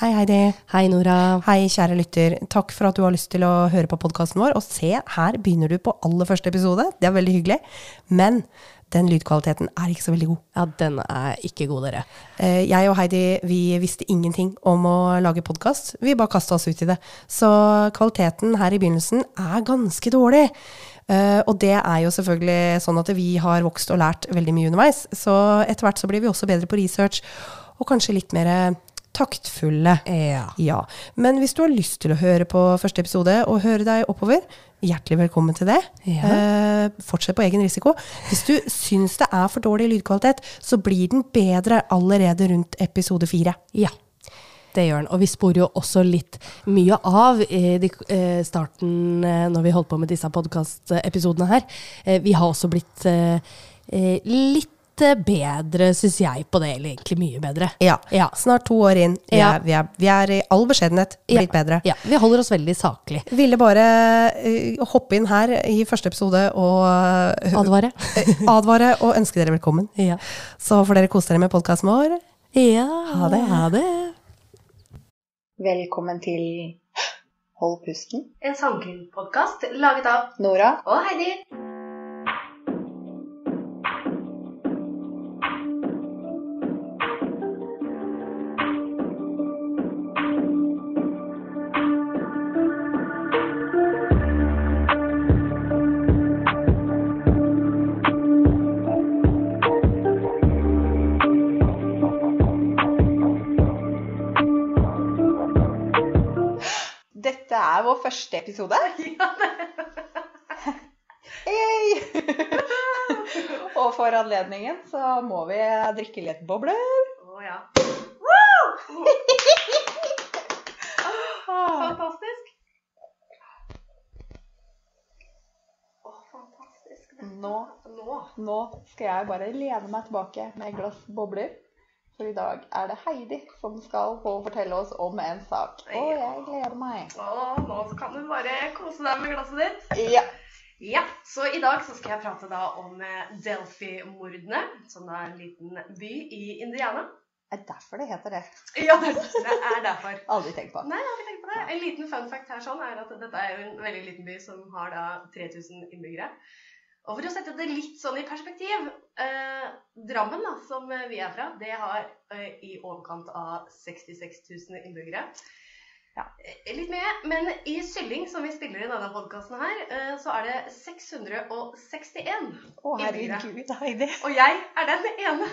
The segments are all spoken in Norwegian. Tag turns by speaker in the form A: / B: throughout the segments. A: Hei, Heidi.
B: Hei, Nora.
A: Hei, kjære lytter. Takk for at du har lyst til å høre på podkasten vår. Og se, her begynner du på aller første episode. Det er veldig hyggelig. Men den lydkvaliteten er ikke så veldig god.
B: Ja, den er ikke god, dere.
A: Eh, Jeg og Heidi vi visste ingenting om å lage podkast. Vi bare kasta oss ut i det. Så kvaliteten her i begynnelsen er ganske dårlig. Eh, og det er jo selvfølgelig sånn at vi har vokst og lært veldig mye underveis. Så etter hvert så blir vi også bedre på research, og kanskje litt mer eh, taktfulle.
B: Ja.
A: Ja, men hvis du har lyst til å høre på første episode og høre deg oppover, hjertelig velkommen til det.
B: Ja.
A: Eh, fortsett på egen risiko. Hvis du syns det er for dårlig lydkvalitet, så blir den bedre allerede rundt episode fire.
B: Ja, det gjør den. Og vi sporer jo også litt mye av i de, eh, starten eh, når vi holdt på med disse podkastepisodene her. Eh, vi har også blitt eh, eh, litt eh, bedre, syns jeg, på det. Eller egentlig mye bedre.
A: Ja.
B: Ja.
A: Snart to år inn. Vi,
B: Ja.
A: er, vi, er, vi er i all beskjedenhet blitt
B: Ja.
A: bedre.
B: Ja, vi holder oss veldig saklig.
A: Ville bare eh, hoppe inn her i første episode og eh,
B: Advare.
A: advare og ønske dere velkommen.
B: Ja.
A: Så får dere kose dere med podkasten vår.
B: ja.
A: Ha det.
B: Ha det.
C: Velkommen til Hold pusten.
D: En sangkrimpodkast laget av
C: Nora,
D: og Heidi.
C: dette er vår første episode. Hey! Og for anledningen så må vi drikke litt bobler.
D: Å ja.
C: Ah,
D: Fantastisk. Å, fantastisk.
C: Nå,
D: Nå.
C: nå skal jeg bare lene meg tilbake med et glass bobler. For i dag er det Heidi som skal få fortelle oss om en sak. Og jeg gleder meg.
D: Å, nå kan du bare kose deg med glasset ditt.
C: Ja.
D: Ja, så i dag så skal jeg prate da om eh, Delphi-mordene, som er en liten by i Indiana.
C: Det er derfor det heter det.
D: Ja, det det er derfor.
C: Aldri tenkt på.
D: Nei, jeg har ikke tenkt på det. En liten fun fact her sånn er at dette er jo en veldig liten by som har da 3000 innbyggere. Og for å sette det litt sånn i perspektiv eh, Drammen, da, som eh, vi er fra, det har eh, i overkant av 66 000 innbyggere.
C: Ja.
D: Eh, Litt mer. Men i Sylling, som vi spiller i denne podkasten her, eh, så er det 661.
C: Å, herregud, Heidi.
D: Og jeg er den ene.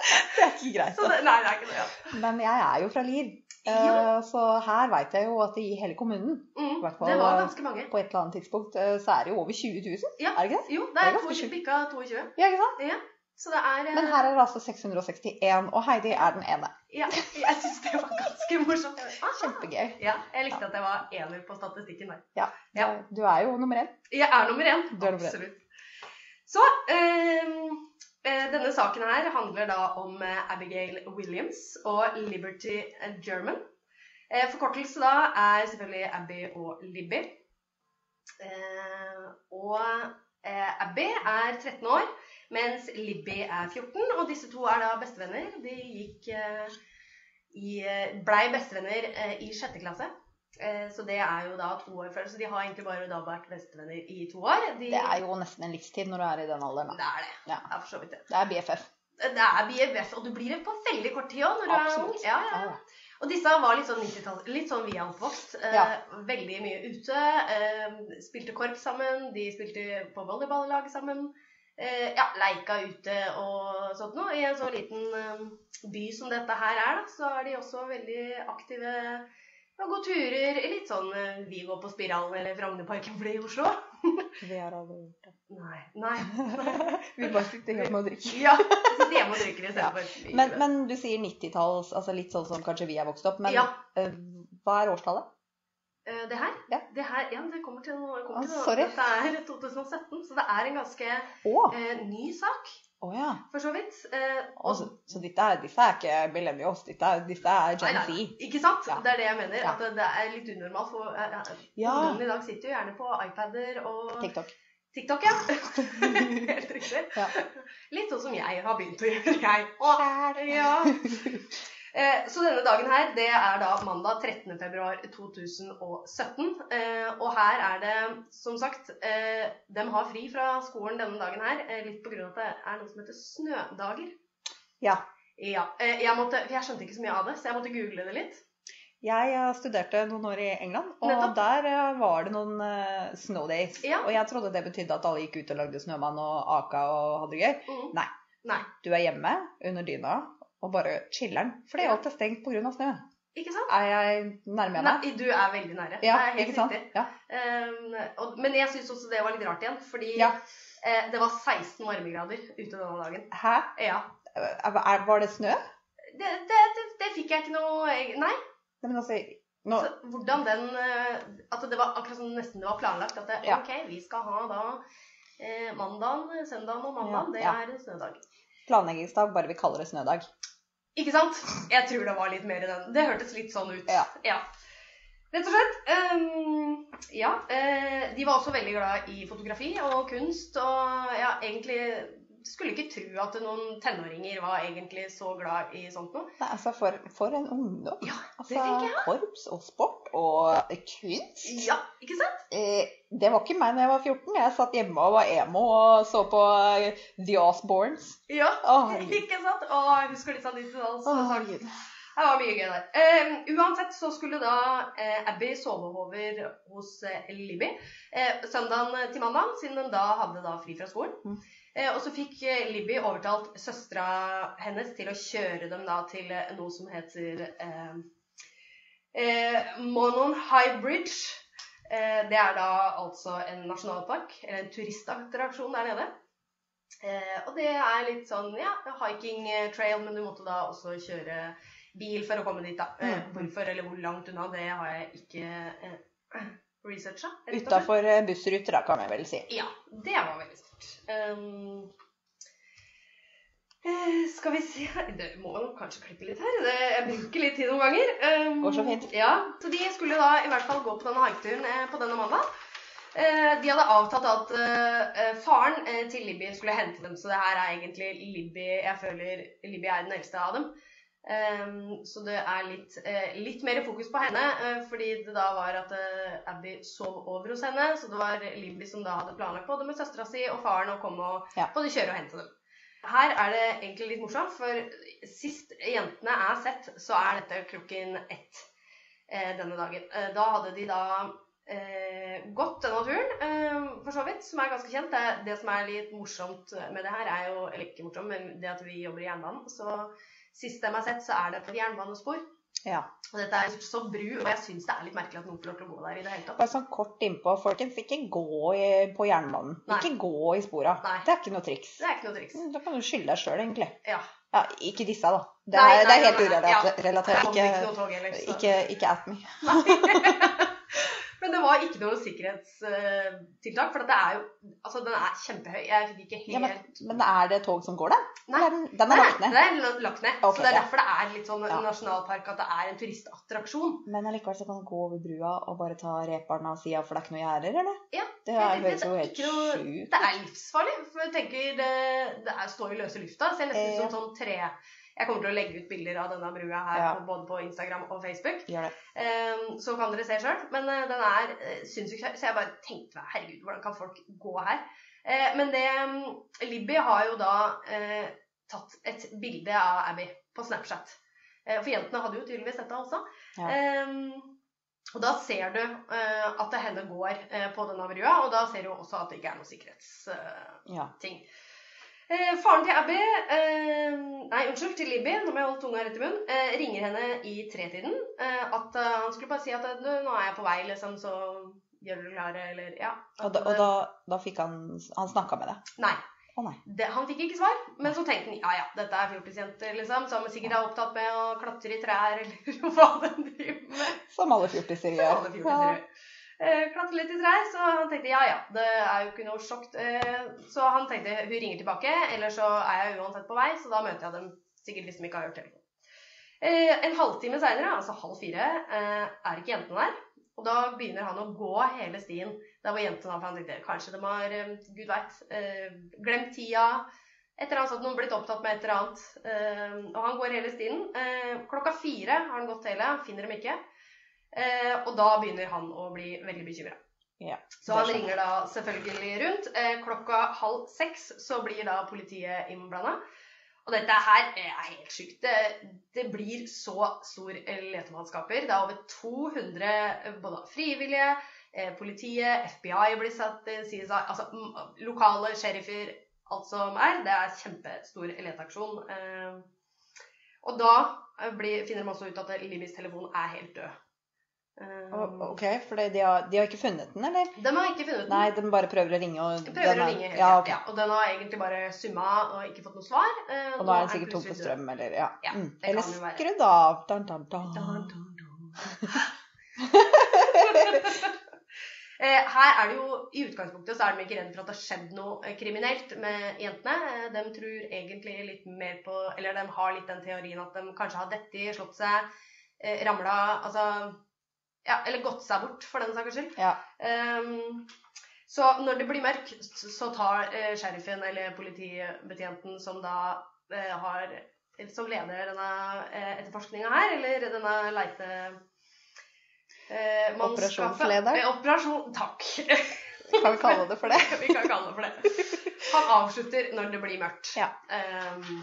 C: Det er ikke greit.
D: Så det, nei, det er ikke noe. Ja.
C: Men jeg er jo fra Lier, eh, så her veit jeg jo at i hele kommunen
D: Mm,
C: Hvertfall,
D: det var
C: eh,
D: ganske mange.
C: på et eller annet tidspunkt, eh, så er det jo over 20 000,
D: Ja.
C: er det ikke det?
D: Jo, det
C: det er
D: er
C: ganske
D: to-
C: sjukt.
D: bikka 22.
C: Ja, ikke sant?
D: Ja, så det er eh,
C: Men her er det altså 661, og Heidi er den ene.
D: ja, Jeg syns det var ganske morsomt. Aha.
C: Kjempegøy.
D: Ja, jeg likte at jeg var ener på statistikken der.
C: Ja,
D: Ja.
C: Du- Du er jo nummer én.
D: Jeg er nummer én.
C: Du er nummer én.
D: Absolutt. Så ehm, eh, denne saken her handler da om eh, Abigail Williams og Liberty German. Eh, forkortelse da er selvfølgelig Abby og Libby. Eh, og eh, Abby er 13 år, mens Libby er 14. Og disse to er da bestevenner. De gikk eh, i, eh, blei bestevenner eh, i sjette klasse. Eh, så det er jo da to år før. Så de har egentlig bare da vært bestevenner i to år. De,
C: Det er jo nesten en livstid når du er i den alderen. Da.
D: Det er det.
C: Ja.
D: Det er for så vidt det.
C: Det er BFF.
D: Det er BFF, og du blir det på veldig kort tid òg når du er
C: Absolutt.
D: ung. Ja, ja, ja. Og disse var litt sånn 90-tall, litt sånn vi er oppvokst. Eh,
C: Ja.
D: Veldig mye ute. Eh, spilte korps sammen, de spilte på volleyballag sammen. Eh, ja, leika ute og sånt noe. I en så liten eh, by som dette her er, da, så er de også veldig aktive. Ja, Gå turer, litt sånn eh, vi går på Spiralen eller Frognerparken for det i Oslo.
C: Vi har aldri gjort det.
D: Nei. nei. Altså,
C: Vi bare sitter hjemme og drikker.
D: Ja, sitter hjemme og drikker istedenfor. Ja.
C: Men, men du sier 90-talls, altså litt sånn som kanskje vi er vokst opp, men
D: ja.
C: eh, hva er årstallet?
D: Eh, Det her?
C: Ja.
D: Det her, ja, det kommer til noe. det
C: Ah,
D: Kommer til noe.
C: sorry.
D: Dette er 2017, så det er en ganske
C: Å!
D: eh, ny sak,
C: Å ja.
D: for så vidt. Eh,
C: Og så, så disse, er, disse er ikke millennials, disse er, disse er
D: Nei,
C: Gen
D: nei,
C: Z.
D: Ikke sant?
C: Ja.
D: Det er det jeg mener.
C: Ja.
D: At det, det er litt unormalt. For eh, eh,
C: Ja.
D: ungdommen i dag sitter jo gjerne på iPader og
C: TikTok.
D: TikTok, ja. Helt riktig.
E: Ja.
D: Litt sånn som jeg har begynt å gjøre, jeg. Åh, ja. Eh, Så denne dagen her, det er da mandag 13. februar 2017. Eh, Og her er det, som sagt, eh, de har fri fra skolen denne dagen her, eh, litt på grunn av at det er noe som heter snødager.
C: Ja.
D: Ja, eh, jeg, måtte, for jeg skjønte ikke så mye av det, så jeg måtte google det litt.
C: Jeg eh, studerte noen år i England, og
D: Nettopp.
C: der eh, var det noen eh, snow days.
D: Ja.
C: Og jeg trodde det betydde at alle gikk ut og lagde snømann og aka og hadde det gøy.
D: Mm.
C: Nei.
D: Nei,
C: Du er hjemme under dyna og bare chiller'n, fordi
D: Ja.
C: alt er stengt pga. snø.
D: ikke sant?
C: Er jeg nærme meg?
D: Nei, du er veldig nære.
C: Ja,
D: det er helt
C: ikke sant?
D: riktig.
C: Ja.
D: Um, og, men jeg syns også det var litt rart igjen, fordi
C: Ja.
D: eh, det var 16 varmegrader ute denne dagen.
C: Hæ?
D: Ja.
C: Er, er, var det snø?
D: Det, det, det, det fikk jeg ikke noe eg- Nei.
C: Nei, men altså, nå,
D: Så hvordan den eh, At det var akkurat som nesten det var planlagt. At det,
C: Ja.
D: OK, vi skal ha da eh, mandagen, søndagen og
C: Ja,
D: mandagen. Det
C: ja.
D: er en snødag.
C: planleggingsdag, bare vi kaller det snødag.
D: Ikke sant? Jeg tror det var litt mer i den. Det hørtes litt sånn ut.
C: Ja.
D: Rett og slett. ehm, ja. eh, de var også veldig glad i fotografi og kunst. Og ja, egentlig skulle ikke tro at noen tenåringer var egentlig så glad i sånt noe.
C: Nei, altså, for, for en ungdom.
D: Ja,
C: Altså,
D: det tenker jeg.
C: korps og sport og kunst.
D: Ja, ikke sant?
C: Eh, det var ikke meg da jeg var 14. Jeg satt hjemme og var emo og så på eh, The Osbournes.
D: Ja.
C: Å, herregud.
D: Ikke sant? Å, jeg husker litt sånn litt sånn.
C: Å,
D: sånn.
C: herregud.
D: Det var mye gøy der. Eh, uansett så skulle da eh, Abby sove over hos eh, Libby eh, søndagen til mandag, siden hun da hadde da fri fra skolen.
C: Mm.
D: Eh, og så fikk eh, Libby overtalt søstera hennes til å kjøre dem da til eh, noe som heter eh, eh, Monon High Bridge. Eh, det er da altså en nasjonalpark, eller en turistattraksjon der nede. Eh, og det er litt sånn ja, hiking eh, trail, men du måtte da også kjøre bil for å komme dit, da. Eh,
C: Mm.
D: hvorfor eller hvor langt unna, det har jeg ikke eh, researcha. rett og slett.
C: Utafor eh, bussruter, da, kan jeg vel si.
D: Ja, det var veldig stort. Ehm, eh, skal vi se her Det må jo kanskje klippe litt her. Det, jeg bruker litt tid noen ganger. Ehm,
C: Går så fint.
D: Ja, så de skulle da i hvert fall gå på denne haiketuren eh, på denne mandag. Eh, de hadde avtalt at eh, eh, faren eh, til Libby skulle hente dem, så det her er egentlig Libby Jeg føler Libby er den eldste av dem. Ehm, så det er litt, eh, litt mer fokus på henne, eh, fordi det da var at eh, Abby sov over hos henne. Så det var Libby som da hadde planlagt både med søstera si og faren å komme og
C: Ja.
D: både kjøre og hente dem. Her er det egentlig litt morsomt, for sist jentene er sett, så er dette klokken ett eh, denne dagen. Eh, da hadde de da eh, gått denne turen, eh, for så vidt, som er ganske kjent. Det, det som er litt morsomt med det her, er jo Eller ikke morsomt, men det at vi jobber i jernbanen. så... Sist dem har sett, så er det på et jernbanespor.
C: Ja.
D: Og dette er så bru, og jeg syns det er litt merkelig at noen får lov til å gå der i det hele tatt.
C: Bare sånn kort innpå, folkens. Ikke gå i, på jernbanen.
D: Nei.
C: Ikke gå i spora.
D: Nei.
C: Det er ikke noe triks.
D: Det er ikke noe triks.
C: Mm, Da kan du skylde deg sjøl, egentlig.
D: Ja.
C: Ja, ikke disse, da. Det er,
D: Nei, nei,
C: det er helt
D: nei, nei, ja. Det
C: urelatert.
D: kom ikke noe
C: Ikke,
D: tog heller. så-
C: ikke, ikke at me.
D: Men det var ikke noe sikkerhetstiltak, for at det er jo Altså, den er kjempehøy. Jeg fikk ikke helt
C: Ja, men, men er det tog som går, da?
D: Nei.
C: Eller er Den, den er lagt ned.
D: Det er la- lagt ned.
C: Ok,
D: så det er
C: ja.
D: derfor det er litt sånn
C: Ja.
D: nasjonalpark at det er en turistattraksjon.
C: Men allikevel så kan du gå over brua og bare ta reparene av sida, for det er ikke noe gjerder, eller?
D: Ja,
C: det
D: helt
C: er,
D: riktig.
C: høres jo
D: Det er
C: helt
D: ikke noe-
C: sjukt
D: Det er livsfarlig. For jeg tenker det, det er, står i løse lufta. Ser nesten ut som sånn tre Jeg kommer til å legge ut bilder av denne brua her
C: Ja.
D: på- både på Instagram og Facebook.
C: Gjør det.
D: Ehm, så kan dere se sjøl. Men eh, den er eh, sinnssykt høy, så jeg bare tenkte meg herregud, hvordan kan folk gå her? Eh, men det mm, Libby har jo da eh, tatt et bilde av Abby på Snapchat. Eh, for jentene hadde jo tydeligvis dette også.
C: Ja.
D: Ehm, og da ser du eh, at det henne går eh, på denne brua, og da ser du også at det ikke er noe sikkerhets... eh,
C: Ja.
D: ting. Eh, faren til Abby, eh, nei, unnskyld, til Libby, nå må jeg holde tunga rett i munnen, eh, ringer henne i tretiden. Eh, at eh, han skulle bare si at eh, «Du, nå er jeg på vei, liksom, så gjør dere klare, eller ja. Eh,
C: Og, da, og da, da fikk han Han snakka med deg.
D: Nei.
C: Å, nei.
D: Det, han fikk ikke svar, men så tenkte han ja ja, dette er fjortisjenter, liksom, som sikkert er opptatt med å klatre i trær, eller hva den driver med.
C: Som alle fjortiser gjør.
D: Alle fjortiser gjør. Eh, Klatre litt i trær, så han tenkte ja ja, det er jo ikke noe sjokk. Eh, Så han tenkte hun ringer tilbake, eller så er jeg uansett på vei, så da møter jeg dem sikkert hvis de ikke har hørt telefonen. Eh, En halvtime seinere, altså halv fire, eh, er ikke jentene der. Og da begynner han å gå hele stien der hvor jentene har for han tenkte kanskje de har, eh, gud veit, eh, glemt tida. Et eller annet sånt, noen har blitt opptatt med et eller annet. Eh, og han går hele stien. Eh, klokka fire har han gått hele, han finner dem ikke. Eh, og da begynner han å bli veldig bekymra.
C: Ja,
D: så
C: det
D: han
C: sånn. skjønner jeg.
D: ringer da selvfølgelig rundt. Eh, klokka halv seks så blir da politiet innblanda. Og dette her er helt sjukt. Det, det blir så stor letemannskaper. Det er over 200 både frivillige, eh, politiet, FBI blir satt inn, CSI, altså mm, lokale sheriffer, alt som er. Det er kjempestor leteaksjon. Eh, og da eh, blir, finner de også ut at Limis telefon er helt død. Eh,
C: Å, OK, for det- de har, de har ikke funnet den, eller?
D: De Eh, har ikke funnet den.
C: Nei, de bare prøver å ringe og
D: Jeg prøver
C: den
D: å
C: er-
D: ringe hele
C: Ja,
D: tiden,
C: ok.
D: ja, og den har egentlig bare summa og ikke fått noe svar. eh,
C: Og nå er den sikkert tom
D: plutselig
C: for
D: død.
C: strøm, eller ja.
D: Ja,
C: mm.
D: det
C: Eller
D: kan jo være.
C: skrudd av. Dan, dan, dan.
D: Dun, dun, dun. Eh, Her er det jo, I utgangspunktet så er de ikke redd for at det har skjedd noe eh, kriminelt med jentene. Eh, De tror egentlig litt mer på Eller de har litt den teorien at de kanskje har dette, slått seg, eh, ramla Altså Ja, eller gått seg bort, for den saks skyld.
C: Ja.
D: Ehm, så når det blir mørkt, så tar eh, sheriffen eller politibetjenten som da eh, har Som leder denne eh, etterforskninga her, eller denne leite... Eh, mannskapet-
C: Operasjonsleder?
D: Eh, operasjon, takk.
C: Kan vi kalle det for det?
D: Vi kan kalle det for det. Han avslutter når det blir mørkt.
C: Ja.
D: Ehm,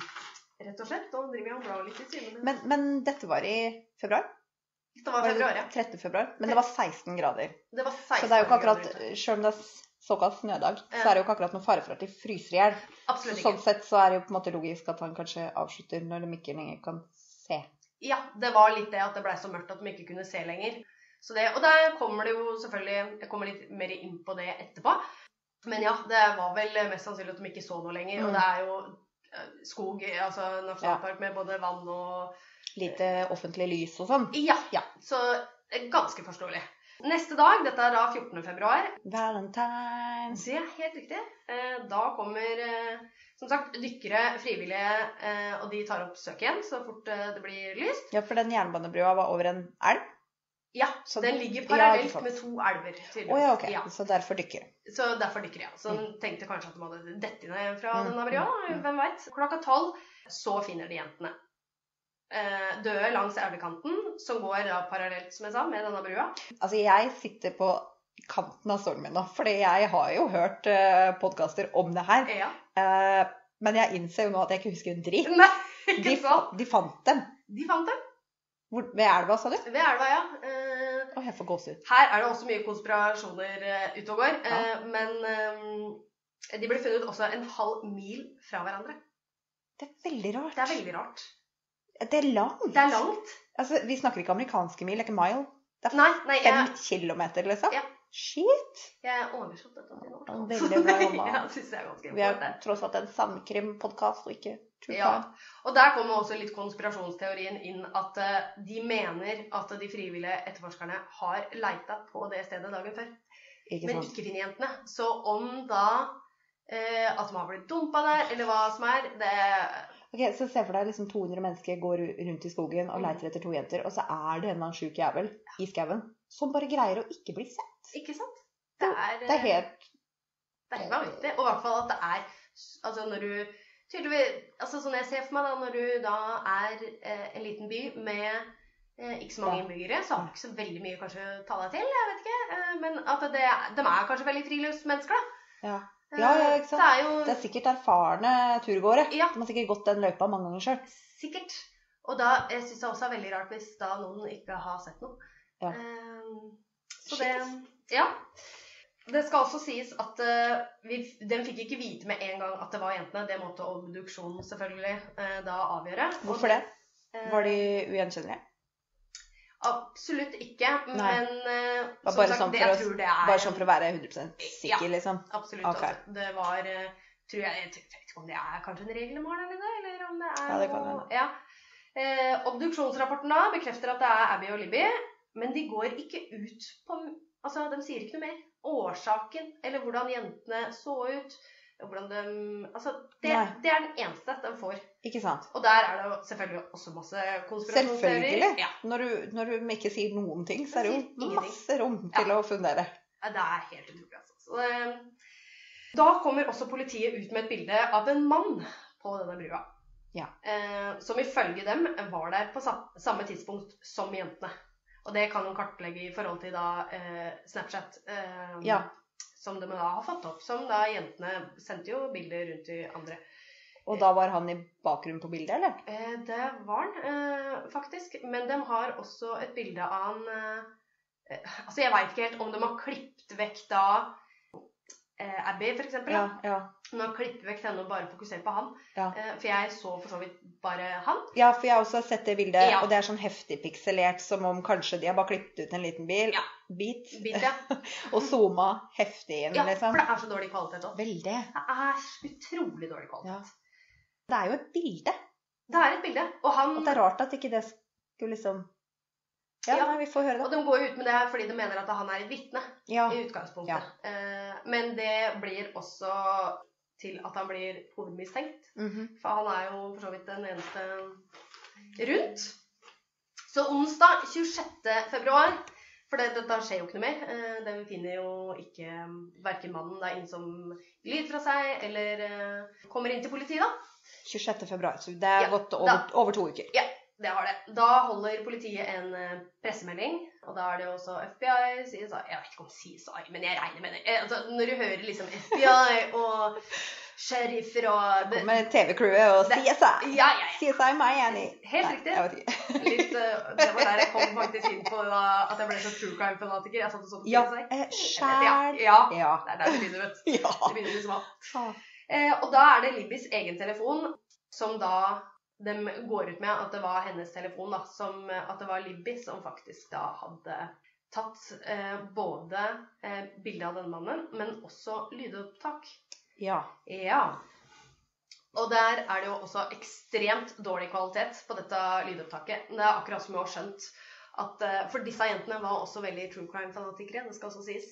D: rett og slett. Da driver han og blar litt i timene.
C: Men, men dette var i februar?
D: det var
C: Var det
D: februar, ja.
C: 13. februar. Men det var 16 grader.
D: Det var 16
C: Så det er jo ikke
D: grader
C: akkurat,
D: ute.
C: selv om det er s- såkalt snødag, så
D: Ja.
C: er det jo ikke akkurat noen fare for at de fryser i hjel. Så
D: Absolutt
C: Sånn
D: ikke.
C: sett så er det jo på en måte logisk at han kanskje avslutter når de ikke lenger kan se.
D: Ja, det var litt det at det blei så mørkt at de ikke kunne se lenger. Så det, og der kommer det jo selvfølgelig Jeg kommer litt mer inn på det etterpå. Men ja, det var vel mest sannsynlig at de ikke så noe lenger. Og
C: Mm.
D: det er jo eh, skog, altså nasjonalpark med både vann og
C: Lite offentlig lys og sånn.
D: Ja. Så eh, ganske forståelig. Neste dag, dette er da 14. februar,
C: Valentines.
D: det er helt riktig. Eh, Da kommer eh, som sagt dykkere, frivillige, eh, og de tar opp søket igjen så fort eh, det blir lyst.
C: Ja, for den jernbanebrua var over en elv.
D: Ja,
C: Så
D: den ligger
C: ja,
D: parallelt
C: ikke sant.
D: med to elver.
C: Å
D: tydeligvis.
C: ja, ok.
D: Ja,
C: Så derfor dykker.
D: så derfor dykker de. ja. Så de tenkte kanskje at de hadde dette ned fra
C: Mm,
D: denne brua. da,
C: mm.
D: Hvem veit. Klokka tolv så finner de jentene. Eh, Døde langs elvekanten, som går da parallelt som jeg sa, med denne brua.
C: Altså, jeg sitter på kanten av stolen min nå, fordi jeg har jo hørt uh, podkaster om det her.
D: Ja.
C: Eh, men jeg innser jo nå at jeg ikke husker en dritt.
D: Nei,
C: De,
D: ikke sant?
C: fa de fant dem.
D: De fant dem
C: Hvor, ved elva, sa du?
D: ved elva, ja. Eh,
C: Å, jeg får gåsehud.
D: Her er det også mye konspirasjoner eh, ute og går.
C: Ja.
D: eh, Men eh, de ble funnet også en halv mil fra hverandre.
C: Det er veldig rart.
D: Det er veldig rart.
C: Det er langt.
D: Det er langt.
C: Altså, vi snakker ikke amerikanske mil, det er ikke mile. Det er
D: Nei, nei
C: fem
D: jeg,
C: kilometer, liksom.
D: Ja.
C: Shit!
D: jeg oversatte dette til norsk.
C: Ja, veldig bra jobba.
D: ja, synes jeg er ganske
C: Vi er
D: imponerende.
C: tross alt en sandkrimpodkast og ikke true
D: Ja.
C: crime.
D: Og der kommer også litt konspirasjonsteorien inn at eh, de mener at de frivillige etterforskerne har leita på det stedet dagen før.
C: Ikke
D: men
C: sant?
D: ikke finne jentene. Så om da eh, at de har blitt dumpa der, eller hva som er, det
C: Ok, Så se for deg liksom 200 mennesker går ru- rundt i skogen og leiter etter to jenter, og så er det en eller annen sjuk jævel i skauen som bare greier å ikke bli sett.
D: Ikke sant? Det er, eh,
C: Det er helt
D: Det er vanvittig. Og i hvert fall at det er Altså når du tydeligvis altså Sånn jeg ser for meg, da, når du da er eh, en liten by med eh, ikke så mange
C: Ja.
D: innbyggere, så har du ikke så veldig mye kanskje å ta deg til, jeg vet ikke. Eh, men at det, de er kanskje veldig friluftsmennesker, da.
C: Ja.
D: Eh,
C: Ja, ja, ikke sant?
D: Det er jo
C: Det er sikkert erfarne turgåere.
D: Ja.
C: De har sikkert gått den løypa mange ganger sjøl.
D: Sikkert. Og da jeg synes det også er veldig rart hvis da noen ikke har sett noe.
C: Ja.
D: Ehm, så det Ja. Det skal også sies at eh, vi, den fikk ikke vite med en gang at det var jentene. Det måtte obduksjonen selvfølgelig eh, da avgjøre. Og,
C: Hvorfor det?
D: eh,
C: Var de ugjenkjennelige?
D: Absolutt ikke.
C: Nei.
D: Men eh,
C: Var
D: som
C: bare
D: sagt,
C: sånn
D: det,
C: for
D: jeg
C: å-
D: tror det er
C: Bare sånn for å være 100 sikker, liksom.
D: Absolutt.
C: Ok.
D: Altså, det var eh, tror jeg, jeg vet ikke om det er kanskje en regelmål eller det, eller om det er
C: Ja, det kan
D: noe
C: hende.
D: ja. eh, Obduksjonsrapporten da bekrefter at det er Abby og Libby, men de går ikke ut på Altså, de sier ikke noe mer. Årsaken, eller hvordan jentene så ut, hvordan de Altså, det,
C: Nei.
D: det er den eneste den får.
C: Ikke sant?
D: Og der er det jo selvfølgelig også masse konspirasjonsteorier.
C: Selvfølgelig.
D: Ja,
C: Når du, når du ikke sier noen ting, så er det
D: Jeg
C: jo
D: sier ingenting.
C: masse rom til å fundere.
D: Ja, det er helt utrolig, altså. Så, eh, da kommer også politiet ut med et bilde av en mann på denne brua.
C: Ja.
D: Eh, som ifølge dem var der på sa- samme tidspunkt som jentene. Og det kan de kartlegge i forhold til da eh, Snapchat. Eh,
C: Ja.
D: Som de da har fått opp. Som da jentene sendte jo bilder rundt til andre.
C: Og da var han i bakgrunnen på bildet, eller?
D: Eh, det var han eh, faktisk. Men de har også et bilde av han eh, eh, Altså, jeg veit ikke helt om de har klippet vekk da eh, Abby, for eksempel. da.
C: ja.
D: Nå klipper vi vekk denne og bare fokuserer på han.
C: Ja.
D: Eh, For jeg så for så vidt bare han.
C: Ja, for jeg har også sett det bildet,
D: Ja.
C: og det er sånn heftig pikselert, som om kanskje de har bare klippet ut en liten bil,
D: Ja.
C: bit,
D: Bit, ja.
C: og zooma heftig inn,
D: ja,
C: liksom.
D: for det er så dårlig kvalitet òg.
C: Veldig.
D: Det er utrolig dårlig
C: Ja.
D: kvalitet.
C: Det er jo et bilde,
D: Det er et bilde. Og han
C: og det er rart at ikke det skulle liksom Ja,
D: Ja.
C: nei, vi får høre
D: og
C: det.
D: de går jo ut med det her fordi de mener at han er et vitne
C: Ja.
D: i utgangspunktet. Eh, Men det blir også til at han blir hovedmistenkt.
C: mhm.
D: For han er jo for så vidt den eneste rundt. Så onsdag 26. februar For det, dette skjer jo ikke noe mer. Eh, De finner jo ikke verken mannen det er inn som lyder fra seg, eller eh, kommer inn til politiet, da.
C: 26. februar. Så det er
D: Ja,
C: gått over,
D: da.
C: over to uker.
D: Det har det. Da holder politiet en eh, pressemelding, og da er det jo også FBI, CSI Jeg vet ikke om CSI, men jeg regner med det. Eh, Altså, når du hører liksom FBI og sheriffer og
C: Med TV-crewet og
D: Det-
C: CSI.
D: Ja, ja, ja.
C: CSI Miami.
D: Helt
C: Nei,
D: riktig.
C: Jeg vet ikke.
D: Litt, eh, det var der jeg kom faktisk inn på da, at jeg ble så true crime-fanatiker. Jeg satt og så på
C: Ja,
D: CSI.
C: eh,
D: Ja,
C: sjæl
D: ja.
C: Ja.
D: Det er der det begynner, vet du.
C: ja.
D: Det begynner liksom alt. Eh, og da er det Libbys egen telefon som da de går ut med at det var hennes telefon, da, som, eh, at det var Libby som faktisk da hadde tatt eh, både eh, bilde av denne mannen, men også lydopptak.
C: Ja.
D: Ja. Og der er det jo også ekstremt dårlig kvalitet på dette lydopptaket. Det er akkurat som jeg har skjønt. At, eh, for disse jentene var også veldig true crime-fanatikere, det skal også sies.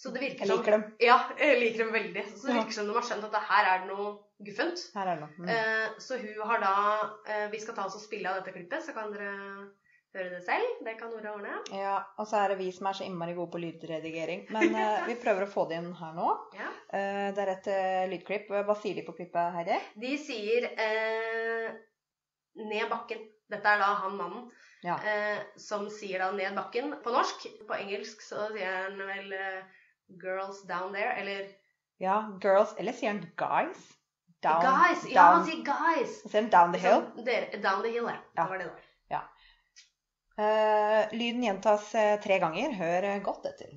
D: Så det virker
C: Jeg liker dem.
D: ja, jeg liker dem veldig. Så det
C: Ja.
D: virker som de har skjønt at det her er det noe guffent.
C: Her er det noe. Mm.
D: Eh, så hun har da eh, Vi skal ta oss og spille av dette klippet, så kan dere høre det selv. Det kan Nora ordne.
C: Ja, og så er det vi som er så innmari gode på lydredigering. Men eh, vi prøver å få det inn her nå.
D: Ja.
C: Eh, det er et eh, lydklipp. Hva sier de på klippet, Heidi?
D: De sier eh, 'ned bakken'. Dette er da han mannen
C: Ja.
D: eh, som sier da 'ned bakken' på norsk. På engelsk så sier han vel eh, 'girls down there', eller
C: Ja, girls. Eller sier han guys? Down,
D: guys. Ja, han
C: down.
D: sier 'guys'.
C: sier han down the hill.
D: Sånn, dere, down the hill, ja.
C: Ja.
D: Det var det det var.
C: Eh, lyden gjentas eh, tre ganger. Hør eh, godt etter.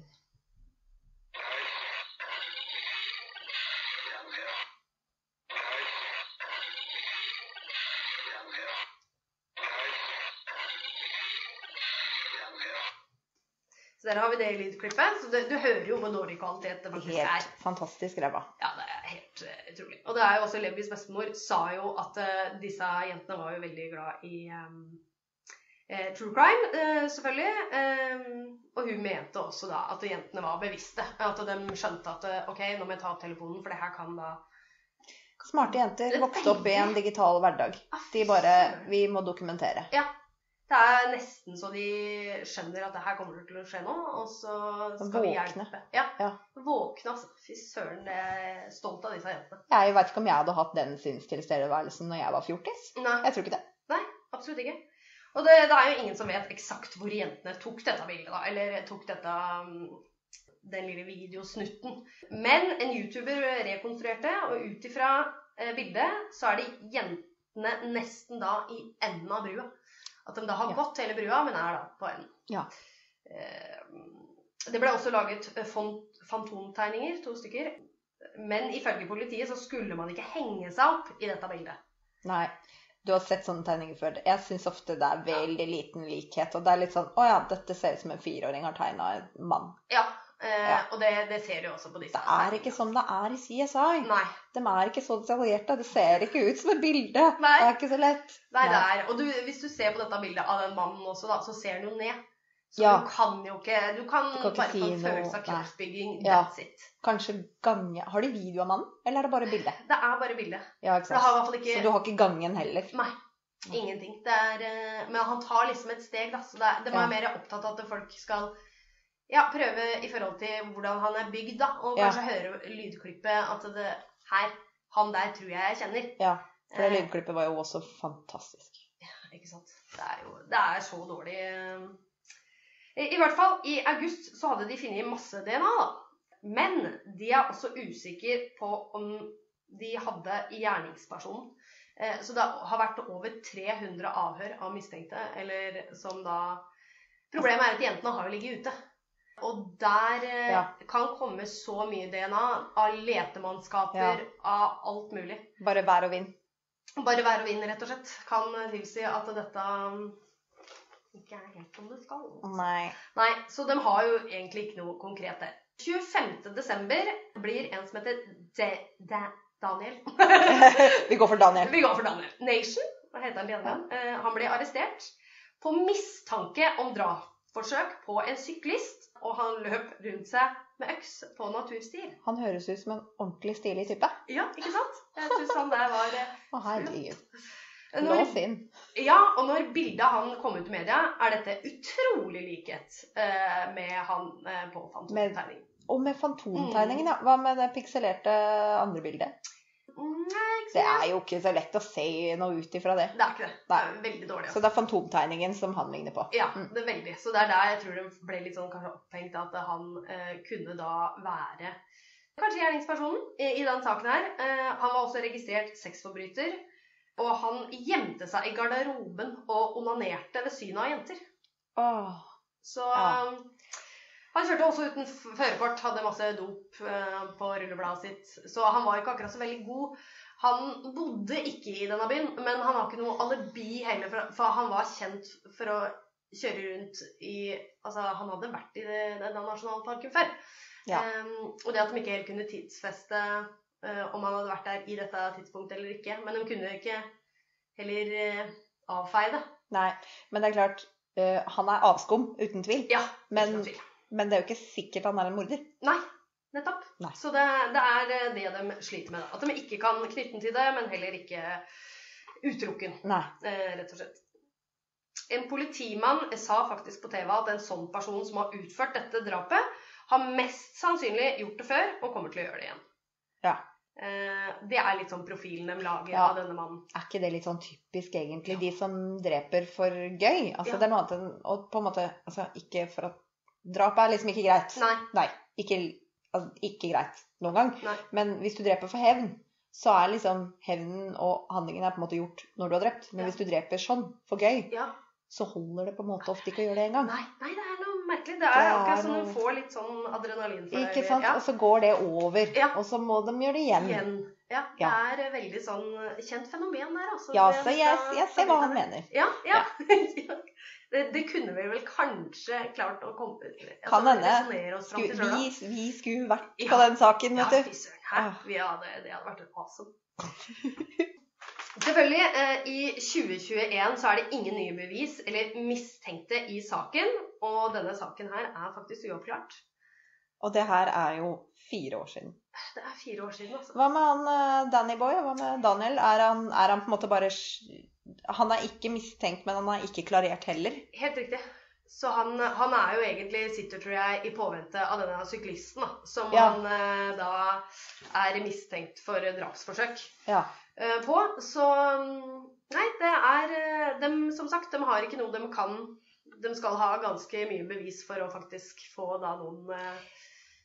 D: Så der har vi det i lydklippet. Så det, du hører jo hvor dårlig kvalitet det faktisk er.
C: Helt fantastisk ræva.
D: Ja, det er helt eh, utrolig. Og det er jo også Lebbys bestemor sa jo at eh, disse jentene var jo veldig glad i eh, eh, true crime, eh, selvfølgelig. Eh, og hun mente også da at jentene var bevisste. At de skjønte at eh, OK, nå må jeg ta opp telefonen, for det her kan da
C: Smarte jenter vokste opp i en digital hverdag.
D: Ah,
C: De bare Vi må dokumentere.
D: Det er nesten så de skjønner at det her kommer til å skje nå, og så skal vi
C: Våkne.
D: hjelpe. Ja.
C: Ja.
D: Våkne, altså. Fy søren, det er jeg stolt av disse jentene.
C: Jeg veit ikke om jeg hadde hatt den sinnstilstedeværelsen når jeg var fjortis.
D: Nei.
C: Jeg tror ikke det.
D: Absolutt ikke. Og det, det er jo ingen som vet eksakt hvor jentene tok dette bildet, da. Eller tok dette um, den lille videosnutten. Men en YouTuber rekonstruerte, og ut ifra eh, bildet så er det jentene nesten da i enden av brua. At de da har
C: Ja.
D: gått hele brua, men er da på enden.
C: Ja.
D: Eh, Det ble også laget eh, fon- fantomtegninger, to stykker. Men ifølge politiet så skulle man ikke henge seg opp i dette bildet.
C: Nei. Du har sett sånne tegninger før. Jeg syns ofte det er veldig liten likhet. Og det er litt sånn Å ja, dette ser ut som en fireåring har tegna en mann.
D: Ja, eh,
C: Ja.
D: og det, det ser du også på disse.
C: Det er ikke sånn det er i CSI.
D: Nei.
C: De er ikke så detaljerte. Det ser ikke ut som et bilde.
D: Nei.
C: Det er ikke så lett.
D: Nei, det
C: Nei.
D: er. Og du, hvis du ser på dette bildet av den mannen også, da, så ser han jo ned. Så
C: Ja.
D: du kan jo ikke Du kan,
C: Du kan ikke
D: bare
C: si
D: få en
C: noe,
D: følelse av
C: nei.
D: kroppsbygging.
C: Ja.
D: That's it.
C: Kanskje gange Har de video av mannen, eller er det bare bilde?
D: Det er bare bildet.
C: Ja, ikke
D: For det har i
C: sant?
D: hvert fall
C: Så du
D: ikke
C: har ikke gangen heller?
D: Nei. Ingenting. Det er, eh, men han tar liksom et steg, da. Så det er, de er
C: Ja.
D: mer opptatt av at folk skal ja, prøve i forhold til hvordan han er bygd, da. Og
C: Ja.
D: kanskje høre lydklippet at det Her. Han der tror jeg jeg kjenner.
C: Ja, For det
D: Eh,
C: lydklippet var jo også fantastisk.
D: Ikke sant? Det er jo det er så dårlig eh. I, I hvert fall, i august så hadde de funnet masse DNA, da. Men de er også usikre på om de hadde i gjerningspersonen. Eh, Så det har vært over 300 avhør av mistenkte, eller som da Problemet er at jentene har jo ligget ute. Og der eh,
C: Ja.
D: kan komme så mye DNA av letemannskaper, av alt mulig.
C: Bare vær og vind.
D: Bare vær og vind, rett og slett, kan tilsi at dette um, ikke er helt som det skal.
C: Nei.
D: Nei, så de har jo egentlig ikke noe konkret der. 25. desember blir en som heter De, De, Daniel.
C: Vi går for Daniel.
D: Vi går for Daniel. Nation, hva heter han igjen? Eh, han blir arrestert på mistanke om drapsforsøk på en syklist, og han løp rundt seg med øks på naturstier.
C: Han høres ut som en ordentlig stilig type.
D: Ja, ikke sant? Jeg synes han der var... eh,
C: Å, herregud.
D: når-
C: Lås inn.
D: Ja, og når bildet av han kom ut i media, er dette utrolig likhet eh, med han eh, på
C: Med-
D: Fantomtegning.
C: Og med fantomtegningen, ja. Hva med det pikselerte andre bildet?
D: Nei, ikke
C: Det
D: så mye.
C: er jo ikke så lett å se noe ut ifra det.
D: Det er ikke det. Det er veldig
C: Så
D: dårlig. Altså.
C: det er fantomtegningen som han ligner på.
D: Ja,
C: Mm.
D: det er veldig. Så det er der jeg tror det ble litt sånn kanskje opphengt at han eh, kunne da være kanskje gjerningspersonen i, i den saken her. Eh, han var også registrert sexforbryter, og han gjemte seg i garderoben og onanerte ved synet av jenter.
C: Åh.
D: Så
C: Ja.
D: um, Han kjørte også uten f- førerkort, hadde masse dop eh, på rullebladet sitt. Så han var ikke akkurat så veldig god. Han bodde ikke i denne byen, men han har ikke noe alibi heller, for, for han var kjent for å kjøre rundt i Altså, han hadde vært i det, denne nasjonalparken før.
C: Ja.
D: Em, og det at de ikke helt kunne tidsfeste eh, om han hadde vært der i dette tidspunktet eller ikke. Men de kunne ikke heller eh, avfeie det.
C: Nei, men det er klart, eh, han er avskum, uten tvil.
D: Ja,
C: Men-
D: ikke noe tvil.
C: Men det er jo ikke sikkert han er en morder.
D: Nei, nettopp.
C: Nei.
D: Så det, det er eh, det de sliter med. At de ikke kan knytte den til det, men heller ikke utelukke den,
C: Nei.
D: eh, rett og slett. En politimann sa faktisk på TV at en sånn person som har utført dette drapet, har mest sannsynlig gjort det før og kommer til å gjøre det igjen.
C: Ja.
D: Eh, Det er litt sånn profilen de lager
C: Ja.
D: av denne mannen.
C: Er ikke det litt sånn typisk, egentlig? De som dreper for gøy. Altså,
D: Ja.
C: det er noe annet enn å på en måte Altså, ikke for at Drap er liksom ikke greit.
D: Nei.
C: Ikke, altså, ikke greit noen gang.
D: Nei.
C: Men hvis du dreper for hevn, så er liksom hevnen og handlingen er på en måte gjort når du har drept. Men
D: Ja.
C: hvis du dreper sånn, for gøy,
D: Ja.
C: så holder det på en måte ofte ikke å gjøre det engang.
D: Nei, nei, det er noe merkelig. Det er akkurat som
C: noe-
D: du får litt sånn adrenalin for
C: Ikke sant?
D: Ja.
C: Og så går det over.
D: Ja.
C: Og så må de gjøre det igjen.
D: igjen. Ja, det
C: Ja.
D: er eh, veldig sånn eh, kjent fenomen der, altså.
C: Ja,
D: Det-
C: så
D: vi
C: jeg,
D: skal
C: jeg
D: ta
C: ser hva
D: litt av
C: han
D: det.
C: mener.
D: Ja, ja. det, det kunne vi vel kanskje klart å komme altså,
C: Kan hende.
D: resonere oss fram
C: Skulle,
D: til selv, da.
C: vi, vi skulle vært på
D: Ja.
C: den saken,
D: Ja,
C: vet
D: fy
C: du.
D: søren. Hæ?
C: Ah.
D: Vi hadde, det hadde vært awesome. Selvfølgelig, eh, i 2021 så er det ingen nye bevis eller mistenkte i saken. Og denne saken her er faktisk uoppklart.
C: Og det her er jo fire år siden.
D: Det er fire år siden, altså.
C: Hva med han eh, Danny Boy? Hva med Daniel? Er han, er han på en måte bare sj- Han er ikke mistenkt, men han er ikke klarert heller.
D: Helt riktig. Så han, han er jo egentlig sitter, tror jeg, i påvente av denne syklisten, da, som
C: Ja.
D: han eh, da er mistenkt for drapsforsøk
C: Ja.
D: eh, på. Så mm, nei, det er eh, dem, som sagt, de har ikke noe de kan De skal ha ganske mye bevis for å faktisk få da noen eh,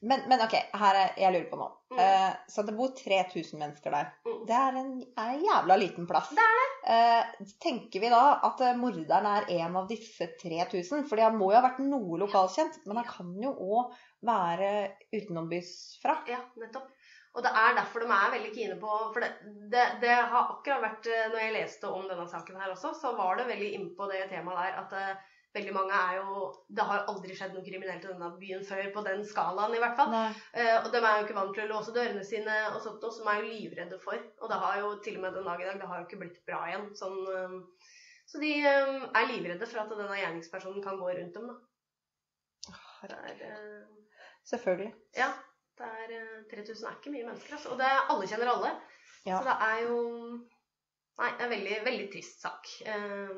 C: Men, men OK, her er, jeg lurer på noe.
D: Mm.
C: Eh, så det bor 3000 mennesker der.
D: Mm.
C: Det er en, er en jævla liten plass. Det er det. tenker vi da at eh, morderen er en av disse 3000? Fordi han må jo ha vært noe lokalkjent, men han kan jo òg være utenombyfra.
D: Ja, nettopp. Og det er derfor de er veldig kine på For det, det, det har akkurat vært eh, Når jeg leste om denne saken her også, så var det veldig innpå det temaet der at eh, veldig mange er jo Det har jo aldri skjedd noe kriminelt i denne byen før, på den skalaen i hvert fall.
C: Nei.
D: Eh, og de er jo ikke vant til å låse dørene sine og sånt noe, som er jo livredde for. Og det har jo til og med den dag i dag, det har jo ikke blitt bra igjen. Sånn, eh, så de eh, er livredde for at denne gjerningspersonen kan gå rundt dem, da. Det er, eh,
C: Selvfølgelig.
D: Ja. Det er eh, 3000 er ikke mye mennesker, altså. Og det er, alle kjenner alle.
C: Ja.
D: Så det er jo Nei, det er en veldig, veldig trist sak. Eh,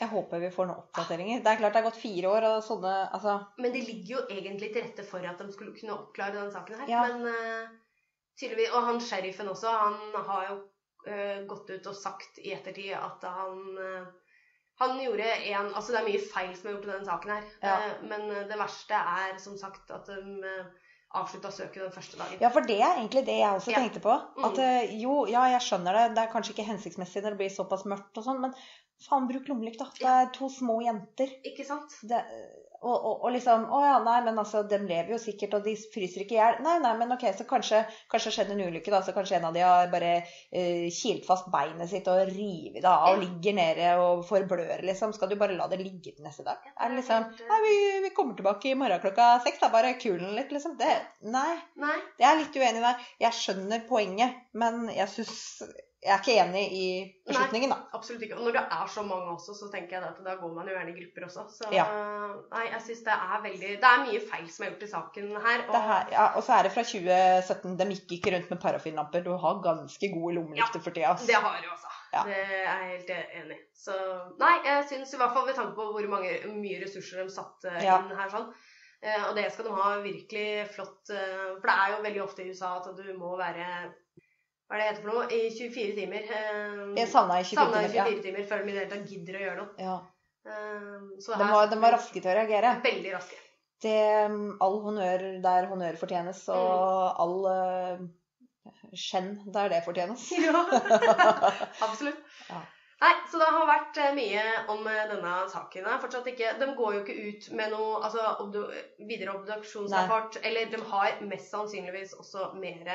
C: Jeg håper vi får noen oppdateringer. Det er klart det er gått fire år, og sånne Altså,
D: Men det ligger jo egentlig til rette for at de skulle kunne oppklare denne saken her.
C: Ja.
D: Men eh, tydeligvis Og han sheriffen også, han har jo eh, gått ut og sagt i ettertid at han eh, han gjorde en, altså Det er mye feil som er gjort i denne saken. her,
C: Ja.
D: eh, Men eh, det verste er som sagt at de eh, avslutta søket den første dagen.
C: Ja, for det er egentlig det jeg også
D: Ja.
C: tenkte på. At
D: Mm.
C: eh, jo, ja, jeg skjønner det, det er kanskje ikke hensiktsmessig når det blir såpass mørkt og sånn, men faen, bruk lommelykt, da. Det er to små jenter.
D: Ikke sant?
C: Det, og, og, og liksom Å ja, nei, men altså, dem lever jo sikkert, og de fryser ikke i hjel. Nei, nei, men ok, så kanskje, kanskje det skjedde en ulykke, da. Så kanskje en av de har bare eh, kilt fast beinet sitt og revet det av og ligger nede og forblør, liksom. Skal du bare la det ligge til neste dag? Er det liksom Nei, vi, vi kommer tilbake i morgen klokka seks, da. Bare kul den litt, liksom. Det Nei.
D: Nei.
C: Jeg er litt uenig der. Jeg skjønner poenget, men jeg syns Jeg er ikke enig i beslutningen, da.
D: Absolutt ikke. Og når det er så mange også, så tenker jeg det at da går man jo gjerne i grupper også. Så
C: Ja.
D: nei, jeg syns det er veldig Det er mye feil som er gjort i saken her.
C: Det her, ja, og så er det fra 2017. De gikk ikke rundt med parafinlamper. Du har ganske gode lommelykter for tida. ass.
D: Det har du, altså.
C: Ja.
D: Det er jeg helt enig i. Så Nei, jeg syns i hvert fall ved tanke på hvor mange, mye ressurser de satte
C: Ja.
D: inn her sånn. eh, Og det skal de ha virkelig flott eh, For det er jo veldig ofte i USA at du må være Hva er det det heter for noe? I 24 timer. eh,
C: Jeg savna i 24
D: savnet i
C: timer. Ja.
D: 24 timer før de i det hele tatt gidder å gjøre noe.
C: Ja.
D: Eh, Så
C: De, var, de var raske til å reagere.
D: Veldig raske.
C: Det, mm, all honnør der honnør fortjenes, og
D: Mm.
C: all eh, skjenn der det fortjenes.
D: Ja, absolutt.
C: Ja.
D: Nei, så det har vært eh, mye om eh, denne saken. Det er Fortsatt ikke, de går jo ikke ut med noe altså, obdu, videre obduksjonsrapport. Eller de har mest sannsynligvis også mer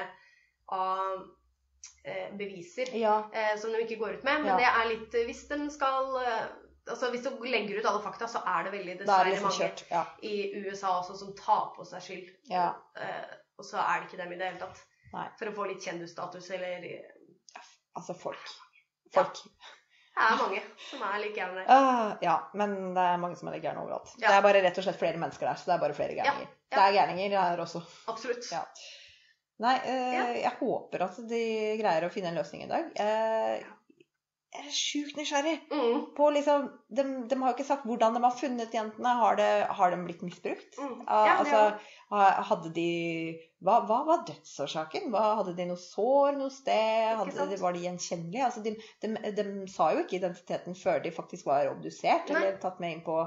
D: av eh, beviser
C: Ja.
D: eh, som de ikke går ut med. Men
C: Ja.
D: det er litt eh, Hvis de skal eh, Altså, hvis du legger ut alle fakta, så er det veldig
C: Da er
D: dessverre
C: det liksom
D: mange
C: kjørt. Ja.
D: i USA også som tar på seg skyld.
C: ja.
D: Eh, og så er det ikke dem i det hele tatt.
C: Nei.
D: For å få litt kjendisstatus eller
C: Altså, folk. Folk.
D: Det er mange som er like jævne.
C: Ah, ja, men det er mange som er gærne overalt.
D: Ja.
C: Det er bare rett og slett flere mennesker der, så det er bare flere gærninger.
D: ja.
C: Det er gærninger her også.
D: Absolutt.
C: Ja. Nei, eh, jeg håper at de greier å finne en løsning i dag. Eh, jeg er sjukt nysgjerrig
D: Mm,
C: på liksom de, har jo ikke sagt hvordan de har funnet jentene. Har, det, har de blitt misbrukt?
D: mm.
C: Ah,
D: Ja, det
C: altså,
D: er-
C: ha- hadde de hva, hva var dødsårsaken? Hva, hadde de noe sår noe sted?
D: Ikke
C: Hadde,
D: sant?
C: de- var de gjenkjennelige? Altså, de, de, de sa jo ikke identiteten før de faktisk var obdusert
D: Nei.
C: eller tatt med inn på,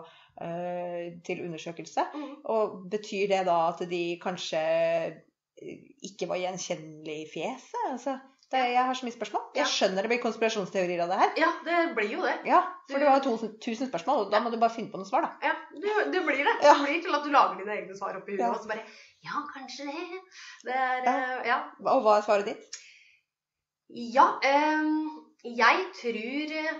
C: eh, til undersøkelse.
D: mm.
C: Og betyr det da at de kanskje eh, ikke var gjenkjennelige i fjeset? Altså, det, jeg har så mye spørsmål.
D: Ja.
C: Jeg skjønner det blir konspirasjonsteorier av det her.
D: ja, det blir jo det.
C: Ja, for
D: Du-
C: du har jo tusen, tusen spørsmål, og da må du bare finne på noen svar, da.
D: Ja, det, det blir det.
C: Ja.
D: Det blir til at du lager dine egne svar oppi huet,
C: Ja.
D: og så bare Ja, kanskje det. Det er
C: Ja.
D: eh, Ja.
C: Og hva er svaret ditt?
D: Ja, ehm, jeg tror eh,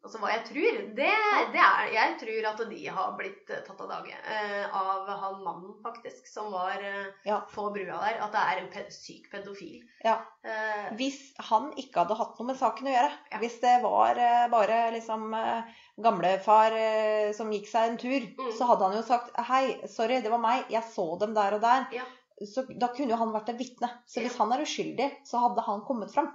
D: Altså hva jeg tror, det, det er Jeg tror at de har blitt eh, tatt av dage eh, av han mannen, faktisk, som var eh,
C: Ja.
D: på brua der. At det er en pe syk pedofil.
C: Ja.
D: Eh,
C: Hvis han ikke hadde hatt noe med saken å gjøre,
D: Ja.
C: hvis det var eh, bare liksom eh, gamlefar eh, som gikk seg en tur,
D: Mm.
C: så hadde han jo sagt hei, sorry, det var meg, jeg så dem der og der.
D: Ja.
C: Så da kunne jo han vært et vitne. Så
D: Ja.
C: hvis han er uskyldig, så hadde han kommet fram.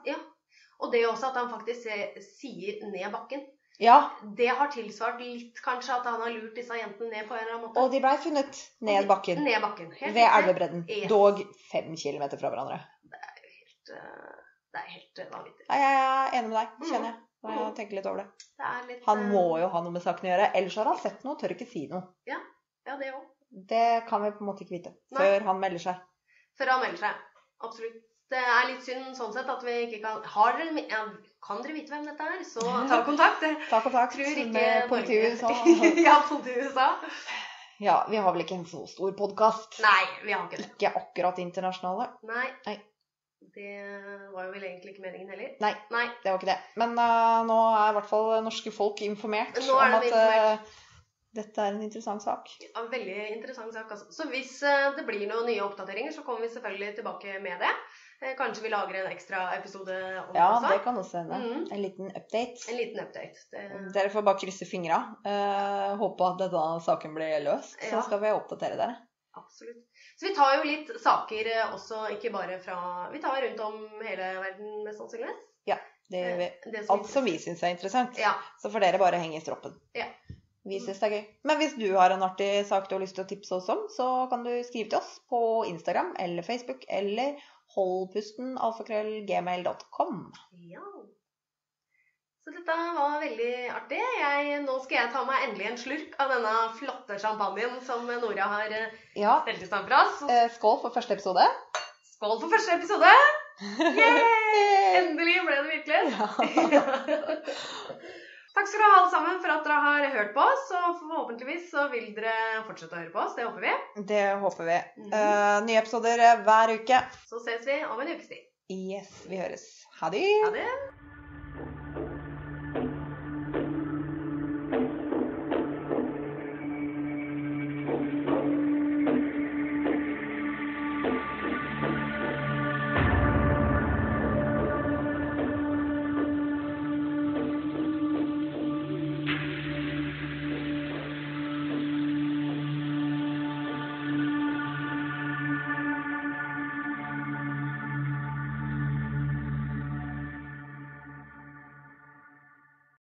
D: og det er også at han faktisk eh, sier 'ned bakken'.
C: Ja,
D: Det har tilsvart litt kanskje at han har lurt disse jentene ned på en eller annen måte.
C: og de blei funnet ned bakken
D: Ned bakken. Helt
C: ved
D: riktig.
C: elvebredden.
D: Yes.
C: Dog fem kilometer fra hverandre.
D: Eh, Det er helt eh, vanvittig.
C: Nei, jeg er enig med deg,
D: Mm.
C: kjenner jeg. Når jeg
D: Mm.
C: tenker litt over det.
D: Det er litt
C: Han
D: eh,
C: må jo ha noe med saken å gjøre, ellers har han sett noe og tør ikke si noe.
D: Ja, det òg.
C: Det kan vi på en måte ikke vite
D: Nei.
C: før han melder seg.
D: Før han melder seg. Absolutt. Det er litt synd sånn sett at vi ikke kan Har dere ja, Kan dere vite hvem dette er, så ta kontakt. Jeg
C: Ta kontakt
D: tror ikke
C: med politiet i USA.
D: Norge- ja, politiet i USA.
C: Ja, vi har vel ikke en så stor podkast.
D: Nei, vi har ikke det.
C: Ikke akkurat internasjonale.
D: Nei.
C: Nei.
D: Det var jo vel egentlig ikke meningen heller.
C: Nei.
D: Nei.
C: Det var ikke det. Men eh, nå er i hvert fall norske folk informert
D: Nå er
C: om at
D: de
C: eh, dette er en interessant sak.
D: Ja, Veldig interessant sak. Altså. Så hvis eh, det blir noen nye oppdateringer, så kommer vi selvfølgelig tilbake med det. Eh, Kanskje vi lager en ekstra episode om det
C: Ja,
D: også.
C: det kan Mm. også hende.
D: Mhm.
C: En liten update.
D: En liten update. Det,
C: Ehm, Dere får bare krysse fingra. Eh, håpe at denne saken blir løst,
D: Ja.
C: så skal vi oppdatere dere.
D: absolutt. Så vi tar jo litt saker eh, også, ikke bare fra Vi tar rundt om hele verden, mest sannsynligvis.
C: Det gjør vi.
D: Eh, det som-
C: Alt som vi syns er interessant.
D: Ja.
C: Så får dere bare henge i stroppen.
D: Ja.
C: Vi syns det er gøy. Men hvis du har en artig sak du har lyst til å tipse oss om, så kan du skrive til oss på Instagram eller Facebook eller holdpustenalfakrøllgmail.com.
D: Ja. Så dette var veldig artig. Jeg, nå skal jeg ta meg endelig en slurk av denne flotte champagnen som Nora har eh,
C: Ja,
D: stelt i stand for oss. Så
C: eh, skål for første episode.
D: Skål for første episode! Yay! Endelig ble det virkelig. Takk skal dere ha alle sammen for at dere har hørt på oss. Og forhåpentligvis så vil dere fortsette å høre på oss. Det håper vi.
C: Det håper vi.
D: Mhm.
C: Eh, nye episoder hver uke.
D: Så ses vi om en ukes tid.
C: Yes, vi høres. Ha det.
D: Ha det.